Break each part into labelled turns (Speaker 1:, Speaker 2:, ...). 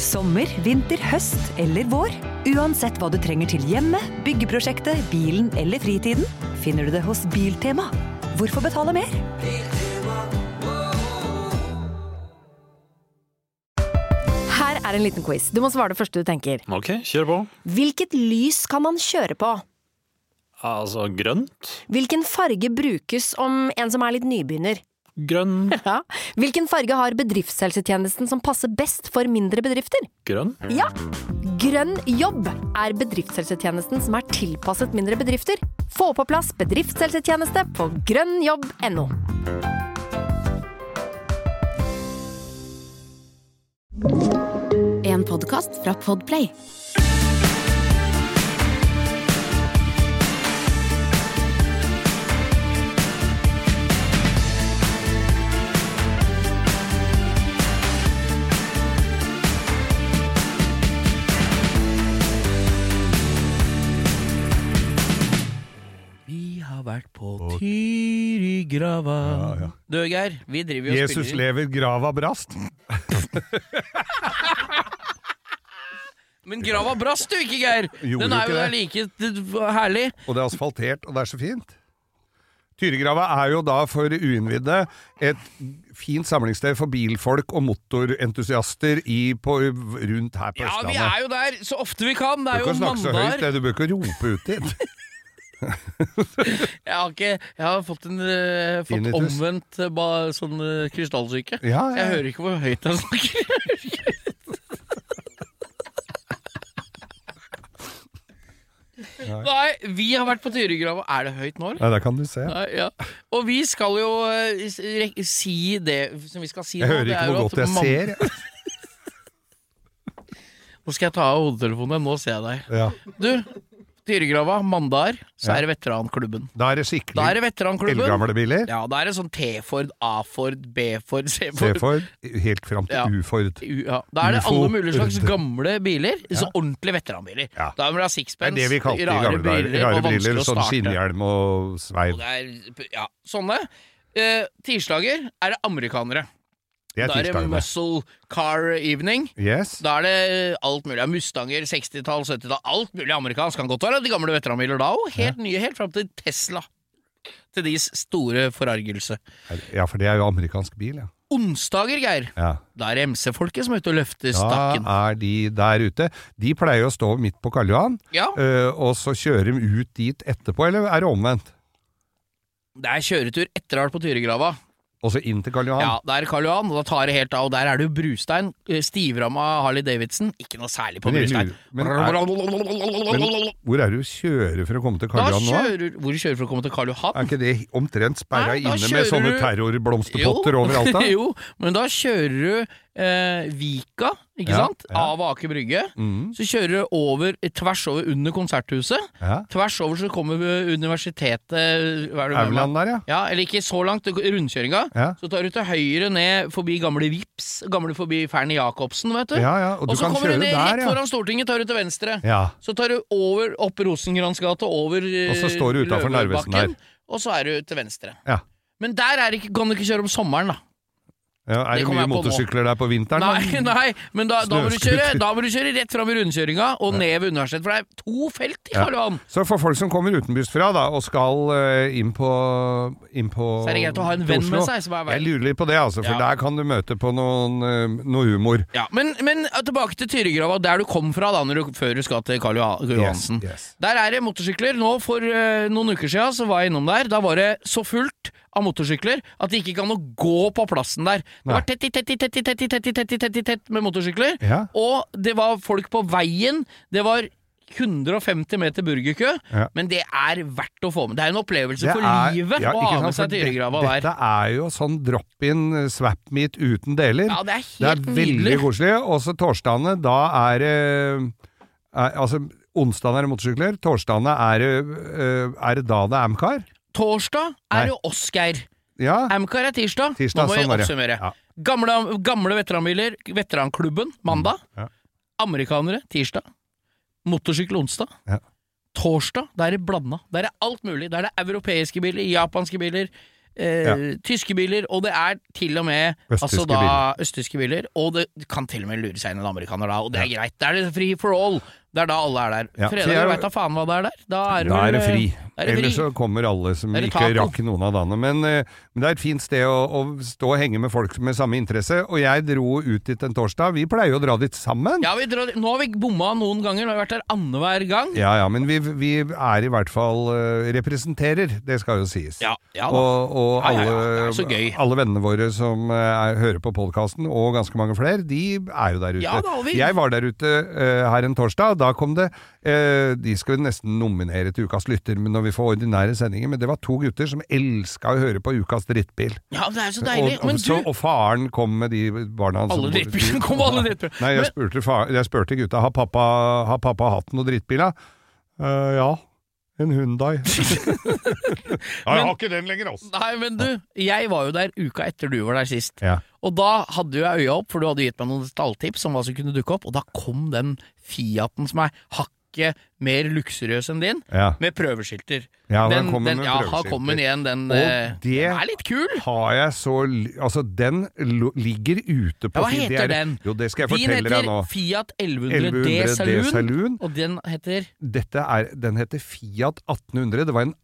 Speaker 1: Sommer, vinter, høst eller vår. Uansett hva du trenger til hjemmet, byggeprosjektet, bilen eller fritiden, finner du det hos Biltema. Hvorfor betale mer?
Speaker 2: Her er en liten quiz. Du må svare det første du tenker.
Speaker 3: Ok, kjør på.
Speaker 2: Hvilket lys kan man kjøre på?
Speaker 3: Altså grønt.
Speaker 2: Hvilken farge brukes om en som er litt nybegynner?
Speaker 3: Grønn.
Speaker 2: Ja. Hvilken farge har bedriftshelsetjenesten som passer best for mindre bedrifter?
Speaker 3: Grønn.
Speaker 2: Ja! Grønn jobb er bedriftshelsetjenesten som er tilpasset mindre bedrifter. Få på plass bedriftshelsetjeneste på grønnjobb.no.
Speaker 4: En podkast fra Podplay.
Speaker 5: Vi har vært på Tyrigrava
Speaker 6: ja.
Speaker 5: Du, Geir, vi driver jo og
Speaker 6: Jesus
Speaker 5: spiller
Speaker 6: lever, grava brast.
Speaker 5: Men grava brast du ikke, Geir!
Speaker 6: Gjorde
Speaker 5: Den er jo der
Speaker 6: ikke
Speaker 5: like t- herlig.
Speaker 6: Og det er asfaltert, og det er så fint. Tyrigrava er jo da for uinnvidde et fint samlingssted for bilfolk og motorentusiaster i, på, rundt her på
Speaker 5: Ja, vi
Speaker 6: Østlandet.
Speaker 5: er jo der så ofte vi kan. Det
Speaker 6: Du
Speaker 5: er
Speaker 6: kan
Speaker 5: jo
Speaker 6: snakke så høyt,
Speaker 5: mandager.
Speaker 6: det. du bør ikke rope ut dit.
Speaker 5: Jeg har ikke Jeg har fått en eh, fått
Speaker 6: Tinnitus.
Speaker 5: omvendt eh, ba, sånn eh, krystallsyke.
Speaker 6: Ja, ja.
Speaker 5: Jeg hører ikke hvor høyt jeg snakker. Nei, vi har vært på Tyrigrava. Er det høyt nå, eller?
Speaker 6: Nei, der kan du se.
Speaker 5: Nei, ja. Og vi skal jo eh, s- re- si det som vi skal si
Speaker 6: Jeg
Speaker 5: nå.
Speaker 6: hører
Speaker 5: det
Speaker 6: ikke
Speaker 5: er jo
Speaker 6: hvor
Speaker 5: at
Speaker 6: godt jeg
Speaker 5: mam-
Speaker 6: ser.
Speaker 5: Nå skal jeg ta av hodetelefonene. Nå ser jeg deg.
Speaker 6: Ja.
Speaker 5: Du, Tyregrava, mandager, så
Speaker 6: Ja.
Speaker 5: er det veteranklubben.
Speaker 6: Da er det
Speaker 5: Da er
Speaker 6: skikkelig
Speaker 5: det veteranklubben.
Speaker 6: eldgamle biler.
Speaker 5: Ja, da er det sånn T-Ford, A-Ford, B-Ford, C-Ford.
Speaker 6: C-Ford, helt fram
Speaker 5: Ja.
Speaker 6: til U-Ford.
Speaker 5: U- Ja. Da er det
Speaker 6: UFO.
Speaker 5: alle mulige slags gamle biler. Så
Speaker 6: Ja.
Speaker 5: ordentlige veteranbiler.
Speaker 6: Ja.
Speaker 5: Da må du ha
Speaker 6: Det er
Speaker 5: sixpence,
Speaker 6: det vi kalte det i
Speaker 5: rare
Speaker 6: gamle dager.
Speaker 5: briller
Speaker 6: Rare
Speaker 5: og
Speaker 6: briller,
Speaker 5: vanskelig å
Speaker 6: sånn
Speaker 5: starte.
Speaker 6: skinnhjelm og
Speaker 5: Og
Speaker 6: sveiv.
Speaker 5: det er, ja, sånne. Eh, tirsdager er det amerikanere.
Speaker 6: Det er
Speaker 5: Da er det
Speaker 6: tirsdagene.
Speaker 5: muscle car evening.
Speaker 6: Yes.
Speaker 5: Da er det eh, alt mulig. Mustanger, 60-tall, 70-tall. Alt mulig amerikansk. Kan godt være de gamle veteranbiler da òg. Helt nye, helt fram til Tesla. Til deres store forargelse.
Speaker 6: Ja, for det er jo amerikansk bil, ja.
Speaker 5: Onsdager, Geir.
Speaker 6: ja.
Speaker 5: Da er det MC-folket som er ute og løfter stakken.
Speaker 6: Da er de der ute. De pleier å stå midt på Karl Johan,
Speaker 5: Ja,
Speaker 6: øh, og så kjører de ut dit etterpå, eller er det omvendt?
Speaker 5: det er kjøretur etter å ha vært på Tyregrava.
Speaker 6: Og så inn til Karl Johan?
Speaker 5: Ja, det er Karl Johan, og da tar det helt av. Og der er det jo brustein. eh, Stivramma Harley Davidson. Ikke noe særlig på
Speaker 6: Men jeg
Speaker 5: brustein.
Speaker 6: lurer- men Men hvor er det du kjører for å komme til Karl
Speaker 5: Da
Speaker 6: Johan nå?
Speaker 5: kjører Hvor du kjører for å komme til Karl Johan?
Speaker 6: Er ikke det omtrent sperra
Speaker 5: Nei, da
Speaker 6: inne med
Speaker 5: kjører
Speaker 6: sånne
Speaker 5: du-
Speaker 6: terrorblomsterpotter overalt? da?
Speaker 5: jo, men da kjører du eh, Vika, ikke
Speaker 6: Ja,
Speaker 5: sant?
Speaker 6: ja.
Speaker 5: Av Aker Brygge.
Speaker 6: Mm,
Speaker 5: Så kjører du over, eh, tvers over under konserthuset.
Speaker 6: ja.
Speaker 5: Tvers over så kommer vi universitetet hva er det med meg?
Speaker 6: Aurland der, ja.
Speaker 5: Ja, eller ikke så langt, rundkjøringa.
Speaker 6: Ja.
Speaker 5: Så tar du til høyre ned forbi gamle Vips, gamle forbi Fernie Jacobsen, vet du.
Speaker 6: ja, ja. Og du
Speaker 5: og så
Speaker 6: kan
Speaker 5: kommer
Speaker 6: kjøre
Speaker 5: du ned
Speaker 6: der,
Speaker 5: rett
Speaker 6: ja.
Speaker 5: foran Stortinget, tar du til venstre.
Speaker 6: ja.
Speaker 5: Så tar du over, opp Rosengrans gate, over eh,
Speaker 6: Og så står du utenfor Narvesen der.
Speaker 5: Løvebakken, Og så er du til venstre.
Speaker 6: Ja.
Speaker 5: Men der er det ikke, kan du ikke kjøre om sommeren, da.
Speaker 6: ja. Er
Speaker 5: Det
Speaker 6: det
Speaker 5: kommer
Speaker 6: mye
Speaker 5: jeg på nå.
Speaker 6: motorsykler der på vinteren? da?
Speaker 5: Nei, nei, men da, da, må du
Speaker 6: Snøscooter.
Speaker 5: kjøre, da må du kjøre rett fram i rundkjøringa og ned ved universitetet, for det er to felt i
Speaker 6: Ja.
Speaker 5: Karl Johan.
Speaker 6: Så for folk som kommer utenbysfra da, og skal eh, inn på, inn på
Speaker 5: Så er det greit å ha en
Speaker 6: til
Speaker 5: venn med
Speaker 6: Oslo.
Speaker 5: seg som er
Speaker 6: Jeg
Speaker 5: veien.
Speaker 6: lurer litt på det, altså, for
Speaker 5: Ja.
Speaker 6: der kan du møte på noen, eh, noe humor.
Speaker 5: Ja, men, men eh, tilbake til Tyrigrava, der du kom fra da, når du, før du skal til Karl Johan- Johansen.
Speaker 6: Yes, yes.
Speaker 5: Der er det motorsykler. Nå For eh, noen uker siden så var jeg innom der. Da var det så fullt av motorsykler at det ikke gikk an å gå på plassen der. Det
Speaker 6: Nei.
Speaker 5: var tett i tett i tett i tett i tett i tett i tett i tett med motorsykler.
Speaker 6: Ja.
Speaker 5: Og det var folk på veien. Det var 150 meter burgerkø,
Speaker 6: Ja.
Speaker 5: men det er verdt å få med. Det er en opplevelse
Speaker 6: Det
Speaker 5: for
Speaker 6: er-
Speaker 5: livet
Speaker 6: ja,
Speaker 5: å
Speaker 6: ikke
Speaker 5: ha med
Speaker 6: sant, for
Speaker 5: seg Tyregrava
Speaker 6: det-
Speaker 5: der.
Speaker 6: Dette er jo sånn drop-in eh, swap-meet uten deler.
Speaker 5: Ja, det er
Speaker 6: det er
Speaker 5: helt
Speaker 6: veldig
Speaker 5: nydelig.
Speaker 6: koselig. Og så torsdagene, da er det er, Altså, onsdagene er det motorsykler, torsdagene er det eh, Er det da det er Amcar?
Speaker 5: Torsdag
Speaker 6: Nei.
Speaker 5: er det Oscar.
Speaker 6: Ja.
Speaker 5: Amcar er tirsdag.
Speaker 6: Tirsdag,
Speaker 5: Nå må vi
Speaker 6: sånn var det.
Speaker 5: oppsummere.
Speaker 6: Ja.
Speaker 5: Gamle, gamle veteranbiler, veteranklubben mandag.
Speaker 6: Mm, ja.
Speaker 5: Amerikanere tirsdag. Motorsykkel onsdag.
Speaker 6: Ja.
Speaker 5: Torsdag, der er det blanda. Der er alt mulig. Der er det europeiske biler, japanske biler, eh, tyske biler, og det er til og med
Speaker 6: Østtyske
Speaker 5: altså da, østtyske biler. Og det kan til og med lure seg inn en amerikaner da, og det er greit. Da er det free for all. Det er da alle er der.
Speaker 6: Ja, så
Speaker 5: Fredag
Speaker 6: jeg-
Speaker 5: veit da faen hva det er der. Da er det,
Speaker 6: Da
Speaker 5: vel,
Speaker 6: er det fri.
Speaker 5: eh, Da er det fri.
Speaker 6: Ellers så kommer alle som
Speaker 5: Da er det
Speaker 6: ikke
Speaker 5: taco.
Speaker 6: rakk noen av dagene. Men, eh, men det er et fint sted å, å stå og henge med folk med samme interesse. Og jeg dro ut dit en torsdag. Vi pleier jo å dra dit sammen.
Speaker 5: Ja, vi drar, nå har vi bomma noen ganger, nå har vi vært der annenhver gang.
Speaker 6: ja, ja, men vi, vi er i hvert fall eh, representerer, det skal jo sies.
Speaker 5: Ja, ja da.
Speaker 6: Og, og
Speaker 5: Ja, ja,
Speaker 6: alle,
Speaker 5: ja, det er så gøy.
Speaker 6: alle vennene våre som eh, er, hører på podkasten, og ganske mange flere, de er jo der ute.
Speaker 5: Ja da, og vi-
Speaker 6: Jeg var der ute eh, her en torsdag, og da kom det eh, De skal vi nesten nominere til Ukas lytter men når vi får ordinære sendinger, men det var to gutter som elska å høre på Ukas drittbil.
Speaker 5: Ja, det er jo så deilig.
Speaker 6: Og, og,
Speaker 5: Men
Speaker 6: så,
Speaker 5: du
Speaker 6: og faren kom med de barna som
Speaker 5: Alle
Speaker 6: bodde-
Speaker 5: drittbilene kom, alle drittbilene.
Speaker 6: Nei, jeg
Speaker 5: Men-
Speaker 6: spurte, fa- jeg spurte gutta har pappa, har pappa hatt noen drittbiler. Eh, ja, en Hundai. jeg har ikke den lenger, altså.
Speaker 5: Nei, men du, jeg var jo der uka etter du var der sist.
Speaker 6: Ja.
Speaker 5: Og da hadde jo jeg øya opp, for du hadde gitt meg noen stalltips om hva som kunne dukke opp, og da kom den Fiaten som er hakket mer luksuriøs enn din,
Speaker 6: Ja.
Speaker 5: med prøveskilter.
Speaker 6: Ja, den
Speaker 5: den,
Speaker 6: kommer med
Speaker 5: ja, har
Speaker 6: prøveskilter.
Speaker 5: kommet igjen, den,
Speaker 6: Og
Speaker 5: eh,
Speaker 6: det-
Speaker 5: den er litt kul!
Speaker 6: Har jeg så li- Altså, den lo- ligger ute på
Speaker 5: Ja, hva
Speaker 6: siden. Det
Speaker 5: heter
Speaker 6: er-
Speaker 5: den?
Speaker 6: Jo, det skal jeg
Speaker 5: Din
Speaker 6: fortelle
Speaker 5: heter
Speaker 6: deg nå.
Speaker 5: Fiat 1100 D
Speaker 6: 1100 D
Speaker 5: Saloon,
Speaker 6: Saloon.
Speaker 5: og den heter
Speaker 6: Dette er, den heter Fiat 1800. Det var en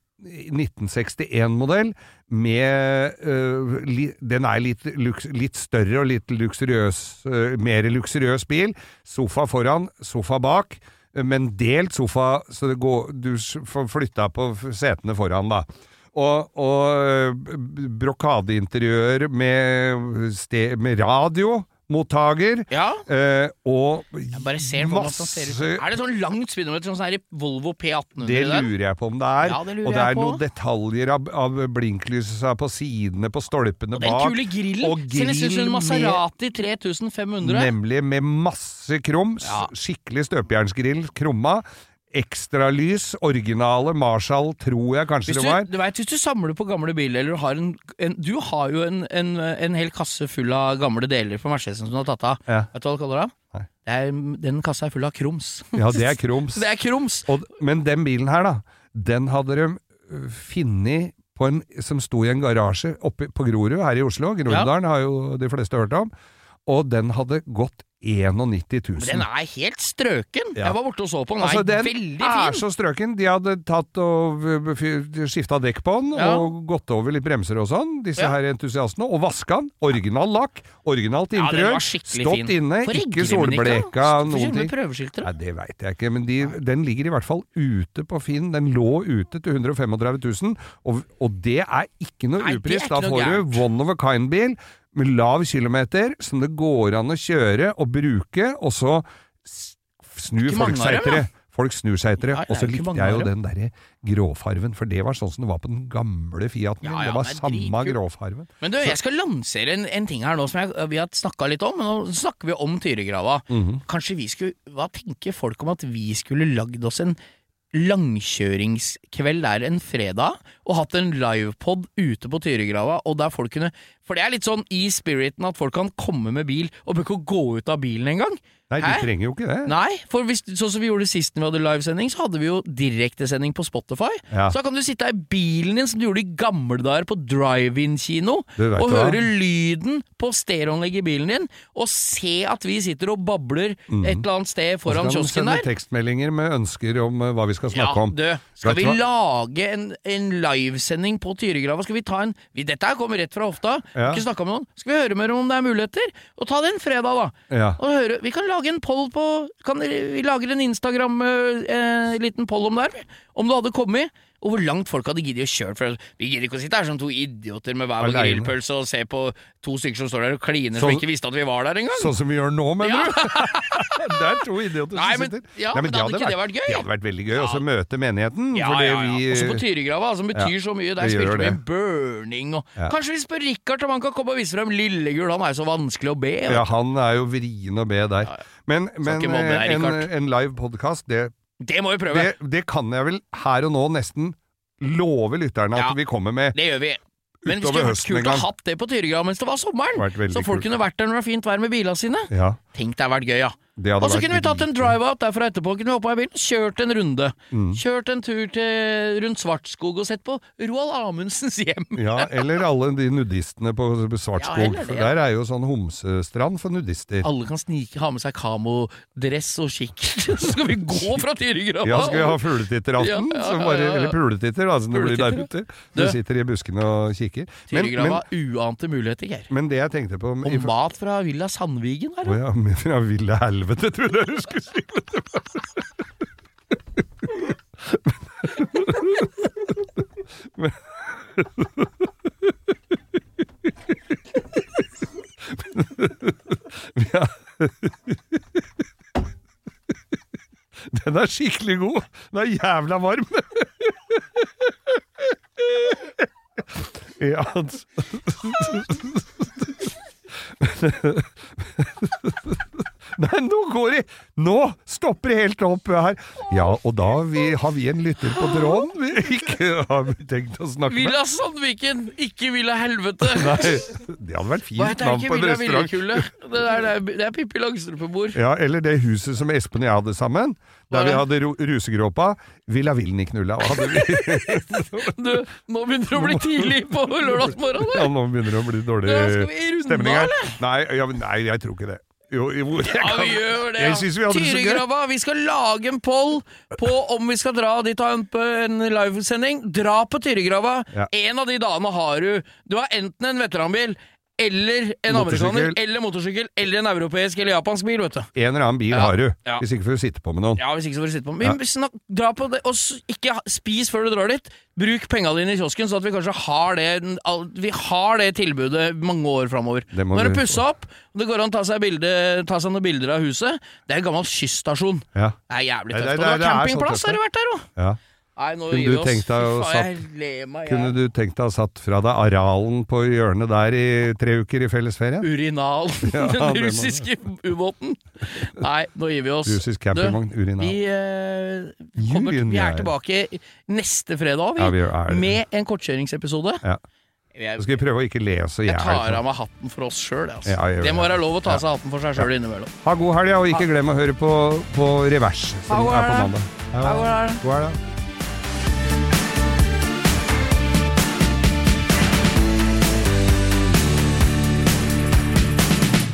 Speaker 6: 1961-modell med øh, li, Den er litt, luks, litt større og litt luksuriøs. øh, mer luksuriøs bil. Sofa foran, sofa bak. øh, Men delt sofa, så det går, du s- får flytta på f- setene foran, da. Og, og øh, b- brokadeinteriør med, ste, med radiomottager.
Speaker 5: Ja?
Speaker 6: øh, og
Speaker 5: Jeg bare ser for meg hvordan den ser ut.
Speaker 6: masse
Speaker 5: Er det sånn langt speedometer, sånn som er i Volvo P1800
Speaker 6: det
Speaker 5: Mm, der?
Speaker 6: lurer jeg på om det er.
Speaker 5: Ja, det lurer
Speaker 6: og det
Speaker 5: jeg
Speaker 6: er
Speaker 5: på.
Speaker 6: noen detaljer av, av blinklysa på sidene, på stolpene
Speaker 5: Den
Speaker 6: bak.
Speaker 5: kule grillen!
Speaker 6: Og
Speaker 5: Ser nesten ut som en
Speaker 6: grill
Speaker 5: Maserati 3500.
Speaker 6: Nemlig med masse krum. s-
Speaker 5: Ja.
Speaker 6: Skikkelig støpejernsgrill, krumma. Ekstralys, originale Marshall, tror jeg kanskje
Speaker 5: Hvis
Speaker 6: det
Speaker 5: du,
Speaker 6: var.
Speaker 5: du vet, hvis du samler på gamle biler eller har en, en, Du har jo en, en, en hel kasse full av gamle deler på Mercedesen som du har tatt av.
Speaker 6: Ja.
Speaker 5: Vet du hva du kaller det?
Speaker 6: Nei.
Speaker 5: det er, den kassa er full av krums.
Speaker 6: Ja, det er krums.
Speaker 5: Det er krums!
Speaker 6: Og, men den bilen her, da, den hadde de øh, funnet på en, som sto i en garasje oppe på Grorud her i Oslo. Groruddalen har jo de fleste hørt om. Og den hadde gått 91 000.
Speaker 5: Men Den er helt strøken!
Speaker 6: Ja.
Speaker 5: Jeg var borte og så på den. Den
Speaker 6: Altså,
Speaker 5: er
Speaker 6: den
Speaker 5: veldig
Speaker 6: er
Speaker 5: fin!
Speaker 6: så strøken. De hadde tatt og skifta dekk på den,
Speaker 5: Ja.
Speaker 6: og gått over litt bremser og sånn, disse
Speaker 5: Ja.
Speaker 6: her entusiastene, og vaska den. Original lakk, originalt
Speaker 5: Ja, den
Speaker 6: interiør.
Speaker 5: var skikkelig
Speaker 6: stått
Speaker 5: fin.
Speaker 6: inne,
Speaker 5: Hvorfor
Speaker 6: ikke
Speaker 5: regler den ikke,
Speaker 6: solbleka,
Speaker 5: da? Hvorfor
Speaker 6: noen
Speaker 5: kjører
Speaker 6: ting.
Speaker 5: Med prøveskilter,
Speaker 6: Nei,
Speaker 5: da?
Speaker 6: det veit jeg ikke, men de, den ligger i hvert fall ute på Finn. Den lå ute til 135 000, og, og det er ikke noe
Speaker 5: Nei, det er
Speaker 6: upris.
Speaker 5: ikke
Speaker 6: Da
Speaker 5: noe
Speaker 6: får du
Speaker 5: gærent.
Speaker 6: one of a kind-bil med lav kilometer, som det går an å kjøre og bruke, og så s- snur
Speaker 5: Ikke mange
Speaker 6: folk seg
Speaker 5: av dem,
Speaker 6: etter det. Folk snur seg etter det,
Speaker 5: Nei, det
Speaker 6: og så
Speaker 5: er ikke
Speaker 6: likte
Speaker 5: mange
Speaker 6: jeg
Speaker 5: av
Speaker 6: jo
Speaker 5: dem.
Speaker 6: den derre gråfarven, for det var sånn som det var på den gamle Fiaten
Speaker 5: Ja,
Speaker 6: min.
Speaker 5: ja,
Speaker 6: det var
Speaker 5: den er
Speaker 6: samme
Speaker 5: dritkul.
Speaker 6: gråfarven.
Speaker 5: Men du, jeg skal lansere en, en ting her nå som jeg, vi har snakka litt om. men Nå snakker vi om Tyregrava. Kanskje vi skulle Hva tenker folk om at vi skulle lagd oss en langkjøringskveld der en fredag, og hatt en livepod ute på Tyregrava, og der folk kunne For det er litt sånn i spiriten at folk kan komme med bil, og bør ikke gå ut av bilen engang.
Speaker 6: Nei, de
Speaker 5: Hæ?
Speaker 6: trenger jo ikke det.
Speaker 5: Nei, for hvis, sånn som vi gjorde sist når vi hadde livesending, så hadde vi jo direktesending på Spotify.
Speaker 6: Ja.
Speaker 5: Så da kan du sitte her i bilen din som du gjorde i gamle dager på drive-in-kino,
Speaker 6: Du vet
Speaker 5: og
Speaker 6: hva.
Speaker 5: høre lyden på stereoanlegget i bilen din, og se at vi sitter og babler et eller annet sted
Speaker 6: Mm. Så
Speaker 5: foran
Speaker 6: kan de
Speaker 5: kiosken
Speaker 6: sende
Speaker 5: der.
Speaker 6: tekstmeldinger med ønsker om eh, hva vi skal
Speaker 5: Ja,
Speaker 6: snakke om.
Speaker 5: du, skal
Speaker 6: Vet
Speaker 5: vi
Speaker 6: du hva?
Speaker 5: lage en, en livesending på Tyregrava? Skal vi ta en vi, Dette her kommer rett fra hofta,
Speaker 6: Ja.
Speaker 5: ikke snakka med noen. Skal vi høre mer om det er muligheter? Og ta det en fredag, da.
Speaker 6: Ja.
Speaker 5: Og høre, vi kan lage en poll på kan, Vi lager en Instagram eh, liten poll om det her. vi. Om du hadde kommet, og hvor langt folk hadde giddet å kjøre. For vi gidder ikke å sitte her som to idioter med hver vår
Speaker 6: Alene.
Speaker 5: grillpølse og se på to stykker som står der og kliner som
Speaker 6: Sånn-
Speaker 5: ikke visste at vi var der engang.
Speaker 6: Sånn som vi gjør nå, mener
Speaker 5: Ja.
Speaker 6: du? det er to idioter
Speaker 5: Nei,
Speaker 6: som
Speaker 5: men-
Speaker 6: sitter.
Speaker 5: ja, men hadde ikke det vært gøy?
Speaker 6: Det hadde vært veldig gøy å så møte menigheten.
Speaker 5: Ja,
Speaker 6: fordi
Speaker 5: ja, ja.
Speaker 6: vi-
Speaker 5: Også på Tyregrava, som betyr så mye. Der
Speaker 6: det gjør
Speaker 5: spilte vi
Speaker 6: det.
Speaker 5: burning og
Speaker 6: Ja.
Speaker 5: Kanskje vi spør Richard om han kan komme og vise frem Lillegul, han er jo så vanskelig å be. vet
Speaker 6: ja, han er jo vrien å be der. Men, men
Speaker 5: ikke mobbe
Speaker 6: eh,
Speaker 5: deg,
Speaker 6: en,
Speaker 5: Richard.
Speaker 6: en live podkast, det,
Speaker 5: du. Det må vi prøve!
Speaker 6: det,
Speaker 5: Det,
Speaker 6: det kan jeg vel her og nå nesten love lytterne at
Speaker 5: Ja.
Speaker 6: vi kommer med.
Speaker 5: gjør vi. Men det
Speaker 6: Utover
Speaker 5: skulle vært
Speaker 6: høsten en
Speaker 5: kult å
Speaker 6: gang.
Speaker 5: hatt det på Tyregrava mens det var sommeren!
Speaker 6: Vært veldig
Speaker 5: Så folk
Speaker 6: kult.
Speaker 5: kunne vært der når det var fint vær med bilene sine.
Speaker 6: Ja.
Speaker 5: Tenk det har vært gøy, ja.
Speaker 6: Det hadde
Speaker 5: Og så
Speaker 6: vært
Speaker 5: kunne vi tatt en drive-out derfra etterpå. Kunne vi hoppa i bilen, kjørt en runde.
Speaker 6: Mm.
Speaker 5: Kjørt en tur til rundt Svartskog og sett på Roald Amundsens hjem.
Speaker 6: Ja, eller alle de nudistene på
Speaker 5: Ja,
Speaker 6: Svartskog.
Speaker 5: eller det,
Speaker 6: for
Speaker 5: ja.
Speaker 6: der er jo sånn homsestrand for nudister.
Speaker 5: Alle kan snike, ha med seg kamodress og kikkert, så skal vi gå fra Tyrigrava!
Speaker 6: Ja, skal vi ha fugletitteraften?
Speaker 5: Ja, ja,
Speaker 6: som bare-
Speaker 5: ja, ja.
Speaker 6: Eller puletitter, da, som det blir der ute. Du
Speaker 5: Du.
Speaker 6: sitter i buskene og kikker. Men, men,
Speaker 5: Tyrigrava uante muligheter, Geir.
Speaker 6: men det jeg tenkte på
Speaker 5: Og mat fra Villa Sandvigen her.
Speaker 6: Å ja, men fra ville helvete, trodde jeg du skulle si! Men- Men- Ja. Den er skikkelig god! Den er jævla varm! Ja, altså. Nei, nå går det Nå stopper det helt opp her. Ja, og da vi, har vi en lytter på tråden vi ikke har tenkt å snakke med.
Speaker 5: Villa Sandviken, ikke Villa Helvete!
Speaker 6: Nei, det hadde vært
Speaker 5: Hva
Speaker 6: fint
Speaker 5: heter det?
Speaker 6: navn
Speaker 5: Ikke
Speaker 6: på en
Speaker 5: Villa
Speaker 6: restaurant.
Speaker 5: Villekulle? Det, er- det er- det er Pippi Langstrømpe-bord.
Speaker 6: Ja, eller det huset som Espen og jeg hadde sammen, der vi hadde ro- rusegråpa. Villa Vilniknulla. Og hadde vi,
Speaker 5: Du, nå begynner det å bli tidlig på
Speaker 6: ja,
Speaker 5: lørdagsmorgenen!
Speaker 6: nå begynner det å bli dårlig
Speaker 5: Ja, skal vi runde
Speaker 6: stemning
Speaker 5: av,
Speaker 6: her.
Speaker 5: eller?
Speaker 6: Nei, ja, men nei, jeg tror ikke det. Jo, jo, jeg
Speaker 5: Ja,
Speaker 6: kan-
Speaker 5: vi gjør det!
Speaker 6: Jeg
Speaker 5: ja.
Speaker 6: synes vi hadde det så gøy.
Speaker 5: Tyrigrava, vi skal lage en poll på om vi skal dra dit og ha en, en livesending. Dra på Tyrigrava.
Speaker 6: Ja.
Speaker 5: En av de dagene har du Du har enten en veteranbil eller en
Speaker 6: Motorsykkel.
Speaker 5: amerikaner eller motorsykkel eller en europeisk eller japansk bil, vet du.
Speaker 6: En eller annen bil har du,
Speaker 5: ja.
Speaker 6: hvis ikke får du sitte på med noen.
Speaker 5: Ja, hvis ikke så får du sitte på Men snakk, dra på det, og s- ikke ha- spis før du drar dit. Bruk penga dine i kiosken, sånn at vi kanskje har det all- Vi har det tilbudet mange år framover.
Speaker 6: Det må
Speaker 5: Nå er det
Speaker 6: vi-
Speaker 5: pussa opp, og det går an å ta seg, bilde, ta seg noen bilder av huset. Det er en gammel kyststasjon.
Speaker 6: Ja.
Speaker 5: Det er jævlig
Speaker 6: Nei,
Speaker 5: tøft.
Speaker 6: det-
Speaker 5: Og du har
Speaker 6: det er sånn
Speaker 5: campingplass,
Speaker 6: tøft,
Speaker 5: har du vært der òg?
Speaker 6: ja.
Speaker 5: Nei, nå
Speaker 6: Kunne
Speaker 5: gir vi
Speaker 6: du
Speaker 5: oss.
Speaker 6: tenkt deg
Speaker 5: Fy
Speaker 6: å
Speaker 5: faen,
Speaker 6: satt-
Speaker 5: jeg ler meg, jeg.
Speaker 6: Kunne du tenkt deg å satt fra deg arealen på hjørnet der i tre uker i fellesferien?
Speaker 5: Urinalen.
Speaker 6: Ja, det
Speaker 5: den
Speaker 6: må-
Speaker 5: russiske ubåten. Nei, nå gir vi oss.
Speaker 6: Russisk campingvogn,
Speaker 5: Du,
Speaker 6: urinal.
Speaker 5: Vi, eh, kommer,
Speaker 6: Urinal.
Speaker 5: vi er tilbake neste fredag, vi.
Speaker 6: Ja, vi er det.
Speaker 5: med en kortkjøringsepisode.
Speaker 6: Ja. Så
Speaker 5: Jeg,
Speaker 6: skal vi prøve å ikke le så
Speaker 5: jeg tar
Speaker 6: jævlig.
Speaker 5: av meg hatten for oss sjøl. Altså.
Speaker 6: Ja, jeg gjør
Speaker 5: det må
Speaker 6: det.
Speaker 5: være lov å ta av seg hatten for seg sjøl innimellom.
Speaker 6: Ha god helg, ja, og ikke glem å høre på, på Revers, som
Speaker 5: Ha god
Speaker 6: er på
Speaker 5: helg.
Speaker 6: mandag.
Speaker 5: Ha god helg.
Speaker 6: God helg. da.